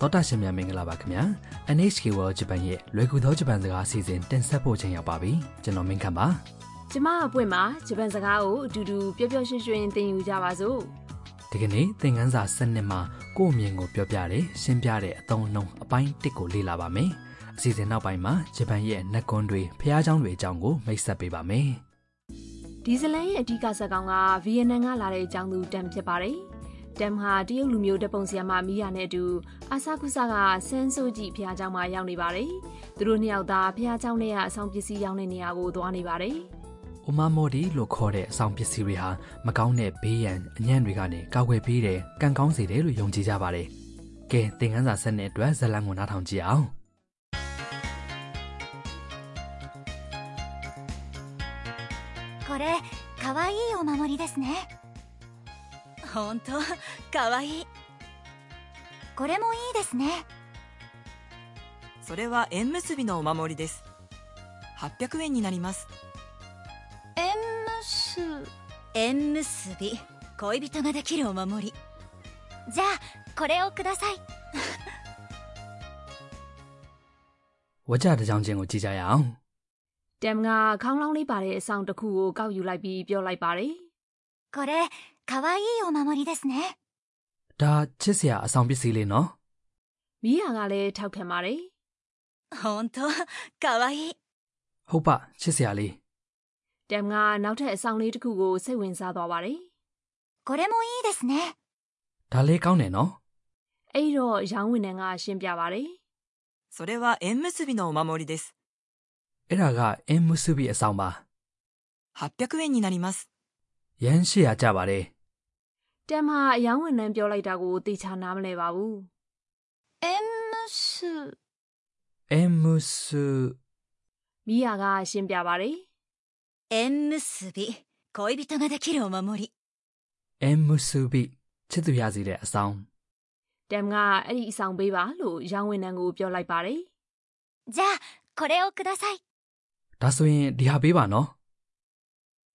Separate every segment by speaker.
Speaker 1: တောတာရှင်များမင်္ဂလာပါခင်ဗျာ NHK World Japan ရဲ့လွယ်ကူသောဂျပန်စကားအစီအစဉ်တင်ဆက်ဖို့ချိန်ရောက်ပါပြီကျွန်တော်မင်းခမ်းပါ
Speaker 2: ကျမအပွင့်မှာဂျပန်စကားကိုအတူတူပျော်ပျော်ရွှင်ရွှင်သင်ယူကြပါစို့
Speaker 1: ဒီကနေ့သင်ခန်းစာစနစ်မှာကိုယ့်အမြင်ကိုပြောပြတယ်ရှင်းပြတဲ့အသုံးအနှုန်းအပိုင်းတစ်ကိုလေ့လာပါမယ်အစီအစဉ်နောက်ပိုင်းမှာဂျပန်ရဲ့နက်ကွန်းတွေဖျားเจ้าတွေအကြောင်းကိုမိတ်ဆက်ပေးပါမယ်
Speaker 2: ဒီဇီလန်ရဲ့အဓိကဇာတ်ကောင်ကဗီယက်နမ်ကလာတဲ့အကြောင်းသူတမ်ဖြစ်ပါတယ်တမ်ဟာတရုတ်လူမျိုးတပ်ပုံစရာမမီးရနဲ့အတူအာဆာကုဆာကဆန်းဆိုးကြည့်ဖျားเจ้าမှာရောက်နေပါတယ်သူတို့နှစ်ယောက်သားဖျားเจ้าနဲ့ကအဆောင်ပစ္စည်းရောက်တဲ့နေရာကိုသွားနေပါတယ်
Speaker 1: အိုမာမော်ဒီလို့ခေါ်တဲ့အဆောင်ပစ္စည်းတွေဟာမကောင်းတဲ့ဘေးရန်အညံ့တွေကနေကာကွယ်ပေးတယ်ကံကောင်းစေတယ်လို့ယုံကြည်ကြပါတယ်ကဲသင်ခန်းစာစနစ်အတွက်ဇာတ်လမ်းကိုနားထောင်ကြည့်အောင်
Speaker 3: これかわいいお守りですね本当かわいいこれもいいですね
Speaker 4: それは縁結びのお守りです800円になります
Speaker 3: 縁結縁結び恋人ができるお守りじゃあこれをください
Speaker 1: ဝကြတစ်ကြောင်ချင်းကိုကြည့်ကြရအောင်
Speaker 2: တမ်ကခေါင်းလောင်းလေးပါတဲ့အဆောင်တစ်ခုကိုကောက်ယူလိုက်ပြီးပြောလိုက်ပါတယ်
Speaker 3: これかわいいお守りですね
Speaker 1: ဒါချစ်စရာအဆောင်ပစ္စည်းလေးနော်
Speaker 2: မီးရကလည်းထောက်ခံပါတယ်
Speaker 3: 本当かわいい
Speaker 1: ဟုတ်ပါချစ်စရာလေး
Speaker 2: တမ်ကနောက်ထပ်အဆောင်လေးတစ်ခုကိုစိတ်ဝင်စားသွားပါတယ်
Speaker 3: これもいいですね
Speaker 1: ဒါလေးကောင်းတယ်နော်
Speaker 2: အဲ့တော့ရောင်းဝန်ထမ်းကရှင်းပြပါတယ်
Speaker 4: それは縁結びのお守りです
Speaker 1: အဲ့ဒါကအင်မူဆူဘီအဆောင်ပါ
Speaker 4: 800円になります
Speaker 1: ရမ်းရှိရာကြပါတယ်
Speaker 2: ။တမ်ဟာအရောင်းဝန်ထမ်းပြောလိုက်တာကိုသိချာနားမလဲပါဘူး
Speaker 3: 縁結
Speaker 1: အင်မူဆူ
Speaker 2: ။မိယာကရှင်းပြပါတယ်
Speaker 3: 縁結び恋人ができるお守り
Speaker 1: အင်မူဆူဘီချစ်သူရစီတဲ့အဆောင်
Speaker 2: ။တမ်ကအဲ့ဒီအဆောင်ပေးပါလို့ရောင်းဝန်ထမ်းကိုပြောလိုက်ပါတယ်
Speaker 3: じゃあこれをください
Speaker 1: ဒါဆိုရင်ဒီဟာပေးပါနော်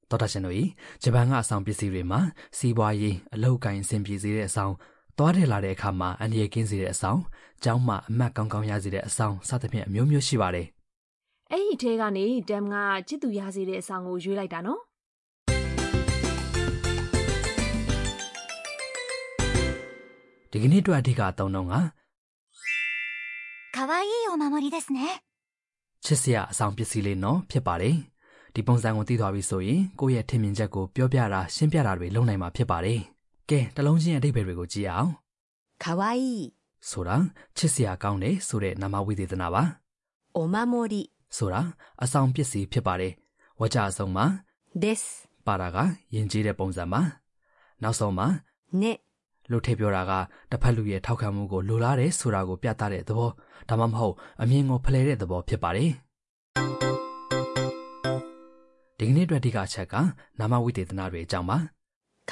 Speaker 1: တော်တာရှင်တို့ဤဂျပန်ကအဆောင်ပစ္စည်းတွေမှာစီးပွားရေးအလောက်ကိုင်းအဆင်ပြေစေတဲ့အဆောင်သွားတယ်လာတဲ့အခါမှာအန္တရာယ်ကင်းစေတဲ့အဆောင်ကျောင်းမှာအမှတ်ကောင်းကောင်းရစေတဲ့အဆောင်စသဖြင့်အမျိုးမျိုးရှိပါတယ်
Speaker 2: ။အဲ့ဒီထဲကနေတမ်ကချစ်သူရစေတဲ့အဆောင်ကိုရွေးလိုက်တာနော်
Speaker 1: ဒီကနေ့အတွက်အဓိကအသုံးတော့က
Speaker 3: かわいいお守りですね
Speaker 1: ချစ်စရာအဆောင်ပစ္စည်းလေးနော်ဖြစ်ပါတယ်။ဒီပုံစံကိုသိသွားပြီဆိုရင်ကိုယ့်ရဲ့ထင်မြင်ချက်ကိုပြောပြတာရှင်းပြတာတွေလုပ်နိုင်မှာဖြစ်ပါတယ်။ကဲတစ်လုံးချင်းအဓိပ္ပာယ်တွေကိုကြည့်အောင်
Speaker 5: かわいい
Speaker 1: ။ဆိုတာချစ်စရာကောင်းတယ်ဆိုတဲ့နာမဝိသေသနာပါ
Speaker 5: お守り
Speaker 1: ။ဆိုတာအဆောင်ပစ္စည်းဖြစ်ပါတယ်။ဝါကြအဆုံးမှာ
Speaker 5: です
Speaker 1: ပါတာကယဉ်ကျေးတဲ့ပုံစံပါ။နောက်ဆုံးမှာ
Speaker 5: ね
Speaker 1: လို့ထည့်ပြောတာကတစ်ဖက်လူရဲ့ထောက်ခံမှုကိုလိုလားတယ်ဆိုတာကိုပြသတဲ့သဘောဒါမှမဟုတ်အမြင်ကိုဖလှယ်တဲ့သဘောဖြစ်ပါတယ်ဒီကနေ့အတွက်အဓိကအချက်ကနာမဝိသေသနာတွေအကြောင်းပါ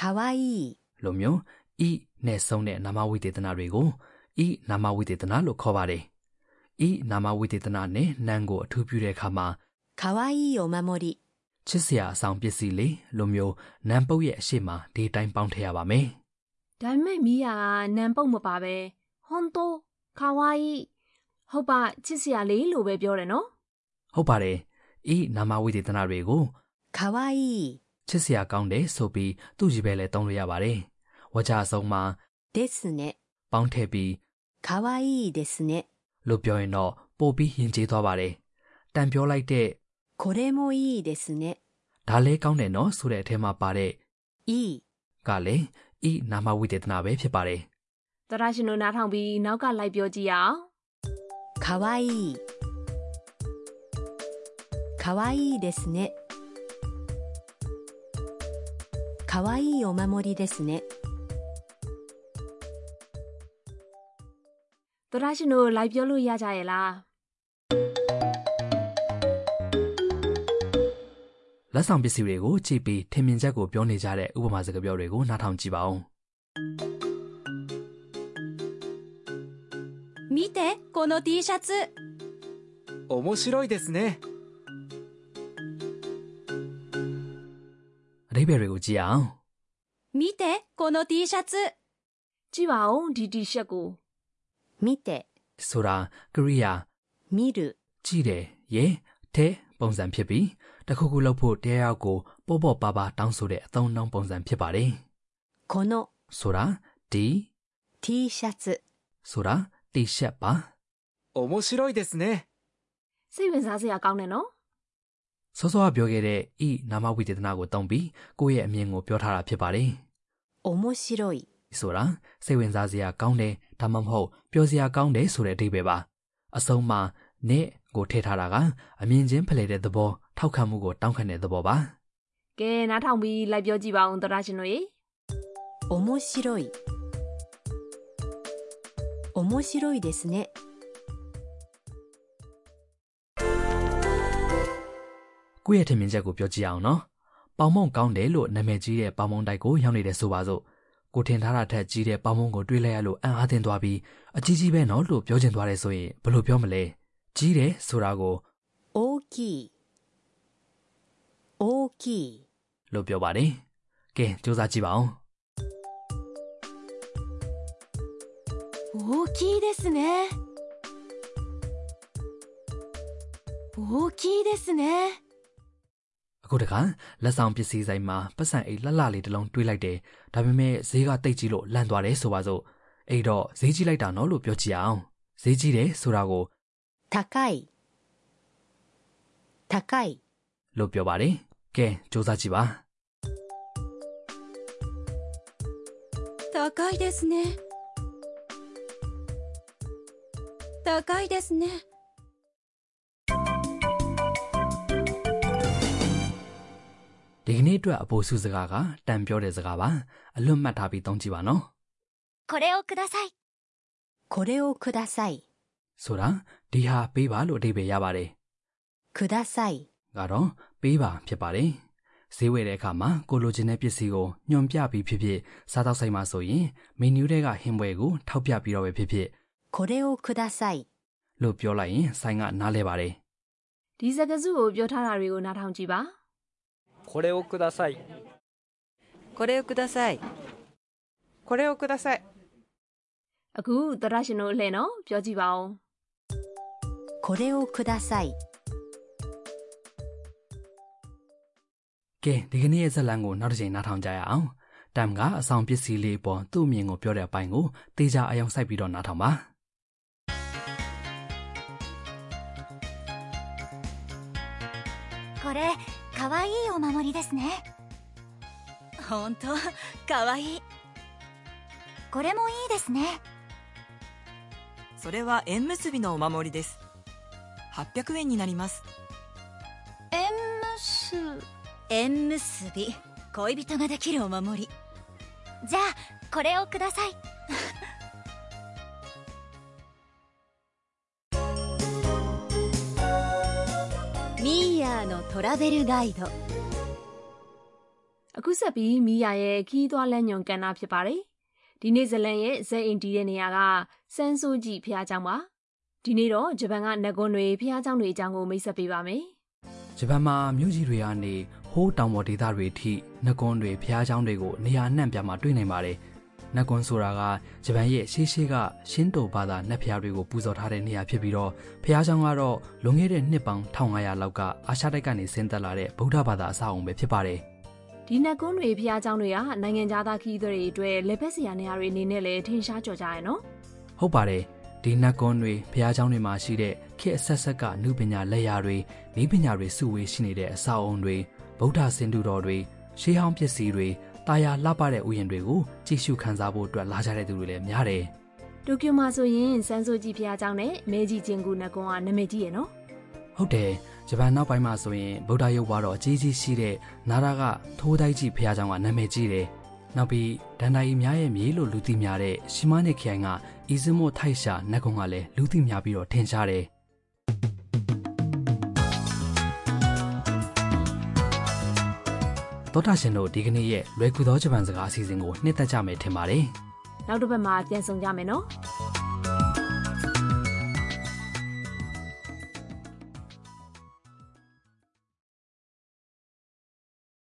Speaker 5: かわいい
Speaker 1: လိုမျိုး i နဲ့ဆုံးတဲ့နာမဝိသေသနာတွေကို i နာမဝိသေသနာလို့ခေါ်ပါတယ် i နာမဝိသေသနာနဲ့နံကိုအထူးပြုတဲ့အခါမှာ
Speaker 5: かわいいお守り
Speaker 1: ချစ်စရာအဆောင်ပစ္စည်းလေးလိုမျိုးနံပုတ်ရဲ့အရှိမဒီအတိုင်းပေါင်းထည့်ရပါမယ်
Speaker 2: ။ဒါပေမဲ့မိယာကနံပုတ်မပါပဲ။ဟွန်တိုခါဝါယီဟုတ်ပါချစ်စရာလေးလို့ပဲပြောတယ်နော်
Speaker 1: ဟုတ်ပါတယ် i နာမဝိသေသနာတွေကို
Speaker 5: かわいい
Speaker 1: ချစ်စရာကောင်းတယ်ဆိုပြီးသူ့ရည်ပဲလဲတောင်းလို့ရပါတယ်။ဝါကြအဆုံးမှာ
Speaker 5: ですね
Speaker 1: ပေါင်းထည့်ပြီး
Speaker 5: かわいいですね
Speaker 1: လို့ပြောရင်တော့ပို့ပြီးယဉ်ကျေးသွားပါတယ်။တန်ပြောလိုက်တဲ့
Speaker 5: これもいいですね
Speaker 1: ဒါလဲကောင်းတယ်နော်ဆိုတဲ့အထဲမှာပါတဲ့
Speaker 5: いい
Speaker 1: ကလည်းဤနာမဝိသေသနာပဲဖြစ်ပါတယ်
Speaker 2: ။သရရှင်တို့နားထောင်ပြီးနောက်ကလိုက်ပြောကြည့်ရအောင်
Speaker 5: かわいいかわいいですねかわいいお守りですね
Speaker 2: ။သရရှင်တို့လိုက်ပြောလို့ရကြရဲ့လား။
Speaker 1: ။လက်ဆောင်ပစ္စည်းတွေကိုကြည့်ပြီးထင်မြင်ချက်ကိုပြောနေကြတဲ့ဥပမာစကားပြောတွေကိုနားထောင်ကြည့်ပါဦး
Speaker 3: 見てこの T シャツ
Speaker 6: 面白いですね
Speaker 1: ။အဓိပ္ပာယ်တွေကိုကြည့်အောင်
Speaker 3: 見てこの T シャツ
Speaker 2: ကြည့်ပါဦးဒီတီရှက်ကို
Speaker 5: 見て、
Speaker 1: ဆိုတာကရိယာ
Speaker 5: 見る、
Speaker 1: ကြည့်တယ်ရေထဲပုံစံဖြစ်ပြီးတစ်ခုခုလုပ်ဖို့တရားရောက်ကိုပေါ့ပေါ့ပါပါတောင်းဆိုတဲ့အသုံးအနှုန်းပုံစံဖြစ်ပါတယ်
Speaker 5: この
Speaker 1: ဆိုတာဒီ
Speaker 5: T シャツ、
Speaker 1: ဆိုတာတီရှပ်ပါ
Speaker 6: 面白いですね。
Speaker 2: စိတ်ဝင်စားစရာကောင်းတယ်နော်
Speaker 1: စောစောကပြောခဲ့တဲ့ဤနာမဝိသေသနာကိုတုံးပြီးကိုယ့်ရဲ့အမြင်ကိုပြောထားတာဖြစ်ပါတယ်
Speaker 5: 面白い、
Speaker 1: ဆိုတာစိတ်ဝင်စားစရာကောင်းတယ်ဒါမှမဟုတ်ပျော်စရာကောင်းတယ်ဆိုတဲ့အဓိပ္ပာယ်ပါအဆုံးမှာနဲ့ကိုထည့်ထားတာကအမြင်ချင်းဖလှယ်တဲ့သဘောထောက်ခံမှုကိုတောင်းခံတဲ့သဘောပါ
Speaker 2: ကဲနားထောင်ပြီးလိုက်ပြောကြည့်ပါဦးသောတာရှင်တို့ရေ
Speaker 5: 面白い。面白いですね。
Speaker 1: ကိုယ့်ရဲ့ထင်မြင်ချက်ကိုပြောကြည့်အောင်နော်ပေါင်မုံကောင်းတယ်လို့နာမည်ကြီးတဲ့ပေါင်မုံတိုက်ကိုရောက်နေတယ်ဆိုပါစို့ကိုထင်ထားတာထက်ကြီးတဲ့ပေါင်မုံကိုတွေးလိုက်ရလို့အံ့အားသင့်သွားပြီးအကြီးကြီးပဲနော်လို့ပြောချင်သွားတယ်ဆိုရင်ဘယ်လိုပြောမလဲကြီးတယ်ဆိုတာကို
Speaker 5: 大きい。大きい。
Speaker 1: လို့ပြောပါတယ်။ကဲစူးစမ်းကြည့်ပါဦး
Speaker 3: 大きいですね大きいですね
Speaker 1: ။အခုတခါလက်ဆောင်ပစ္စည်းဆိုင်မှာပတ်စံအိတ်လှလှလေးတစ်လုံးတွေးလိုက်တယ်။ဒါပေမဲ့ဈေးကတိတ်ကြီးလို့လန့်သွားတယ်ဆိုပါစို့။အဲ့တော့ဈေးကြီးလိုက်တာနော်လို့ပြောကြည့်အောင်။ဈေးကြီးတယ်ဆိုတာကို
Speaker 5: 高い。高い。
Speaker 1: လို့ပြောပါတယ်။ကဲစူးစမ်းကြည့်ပါ
Speaker 3: 高いですね高いですね
Speaker 1: ။ဒီကနေ့အတွက်အပိုစုစကားကတန်ပြောတဲ့စကားပါ။အလွတ်မှတ်ထားပြီးသုံးကြည့်ပါနော်
Speaker 3: これをください
Speaker 5: これをください。
Speaker 1: ။ဆိုတာဒီဟာပေးပါလို့အဓိပ္ပာယ်ရပါတယ်။
Speaker 5: ください。
Speaker 1: ကတော့ပေးပါဖြစ်ပါတယ်။ဈေးဝယ်တဲ့အခါမှာကိုလိုချင်တဲ့ပစ္စည်းကိုညွန်ပြပြီးဖြစ်ဖြစ်စားတော့ဆိုင်မှာဆိုရင်မင်းနူးတွေကဟင်းပွဲကိုထောက်ပြပြီးတော့ပဲဖြစ်ဖြစ်
Speaker 5: これをください。
Speaker 1: လို့ပြောလိုက်ရင်ဆိုင်ကနားလဲပါတယ်
Speaker 2: ဒီစကားစုကိုပြောထားတာတွေကိုနားထောင်ကြည့်ပါ
Speaker 7: これをください
Speaker 4: これをください
Speaker 7: これをください
Speaker 2: အခုသောတာရှင်တို့အလှည့်နော်ပြောကြည့်ပါဦး
Speaker 5: これをください。
Speaker 1: ။ကဲဒီကနေ့ရဲ့ဇာတ်လမ်းကိုနောက်တစ်ချိန်နားထောင်ကြရအောင်။တမ်ကအဆောင်ပစ္စည်းလေးပေါ်သူ့အမြင်ကိုပြောတဲ့အပိုင်းကိုတေချာအယောင်စိုက်ပြီးတော့နားထောင်ပါ
Speaker 3: これかわいいお守りですね本当かわいいこれもいいですね
Speaker 4: それは縁結びのお守りです800円になります
Speaker 3: 縁結縁結び恋人ができるお守りじゃあこれをください「ミーヤーのトラベルガイド
Speaker 2: အခုဆက်ပြီးမိယာရဲ့ခီးသွွားလက်ညွန်ကဏ္ဍဖြစ်ပါတယ်ဒီနေ့ဇလန်ရဲ့ဇက်အင်တီရဲ့နေရာကစန်းဆိုးကြည့်ဖျားเจ้าပါဒီနေ့တော့ဂျပန်ကနဂွန်တွေဖျားเจ้าတွေအကြောင်းကိုမိတ်ဆက်ပေးပါမယ်
Speaker 1: ။ဂျပန်မှာမြို့ကြီးတွေကနေဟိုးတောင်ပေါ်ဒေသတွေအထိနဂွန်တွေဖျားချောင်းတွေကိုနေရာနှံ့ပြားမှာတွေ့နိုင်ပါတယ်။နဂွန်ဆိုတာကဂျပန်ရဲ့ရှေးရှေးကရှင်းတိုဘာသာနတ်ဖျားတွေကိုပူဇော်ထားတဲ့နေရာဖြစ်ပြီးတော့ဖျားချောင်းကတော့လွန်ခဲ့တဲ့နှစ်ပေါင်း1500လောက်ကအာရှတိုက်ကနေဆင်းသက်လာတဲ့ဗုဒ္ဓဘာသာအဆောက်အအုံပဲဖြစ်ပါတယ်
Speaker 2: ဒီနဂွန်တွေဖျားเจ้าတွေကနိုင်ငံခြားသားခီးသွွားတွေအတွက်လက်ဖက်စရာနေရာတွေအနေနဲ့လည်းထင်ရှားကြော်ကြရယ်နော်
Speaker 1: ။ဟုတ်ပါတယ်။ဒီနဂွန်တွေဖျားချောင်းတွေမှာရှိတဲ့ခေတ်အဆက်ဆက်ကနုပညာလက်ရာတွေဤပညာတွေစုဝေးရှိနေတဲ့အဆောက်အအုံတွေဗုဒ္ဓဆင်တုတော်တွေရှေးဟောင်းပစ္စည်းတွေတာယာလှပတဲ့ဥယျာဉ်တွေကိုကြည့်ရှုခန်းစားဖို့အတွက်လာကြတဲ့သူတွေလည်းများတယ်။
Speaker 2: တိုကျိုမှာဆိုရင်စန်းဆိုကြည့်ဖျားเจ้าနဲ့မဲကြီးချင်းကူနဂွန်ကနာမည်ကြီးရယ်နော်
Speaker 1: ဟုတ်တယ်ဂျပန်နောက်ပိုင်းမှာဆိုရင်ဗုဒ္ဓရုပ်ဘွားတော်အကြီးကြီးရှိတဲ့နာရာကထိုးတိုက်ကြီးဘုရားကျောင်းကနာမည်ကြီးတယ်။နောက်ပြီးဒန်ဒိုင်များရဲ့မြေလို့လူသိများတဲ့ရှီမနဲ့ခိုင်ကအီဇမိုထိုက်ရှာနတ်ကုံကလည်းလူသိများပြီးတော့ထင်ရှားတယ်။သောတာရှင်တို့ဒီကနေ့ရဲ့လွယ်ကူသောဂျပန်စကားအစီအစဉ်ကိုနှစ်သက်ကြမယ်ထင်ပါတယ်။
Speaker 2: ။နောက်တစ်ပတ်မှာပြန်ဆောင်ကြမယ်နော်။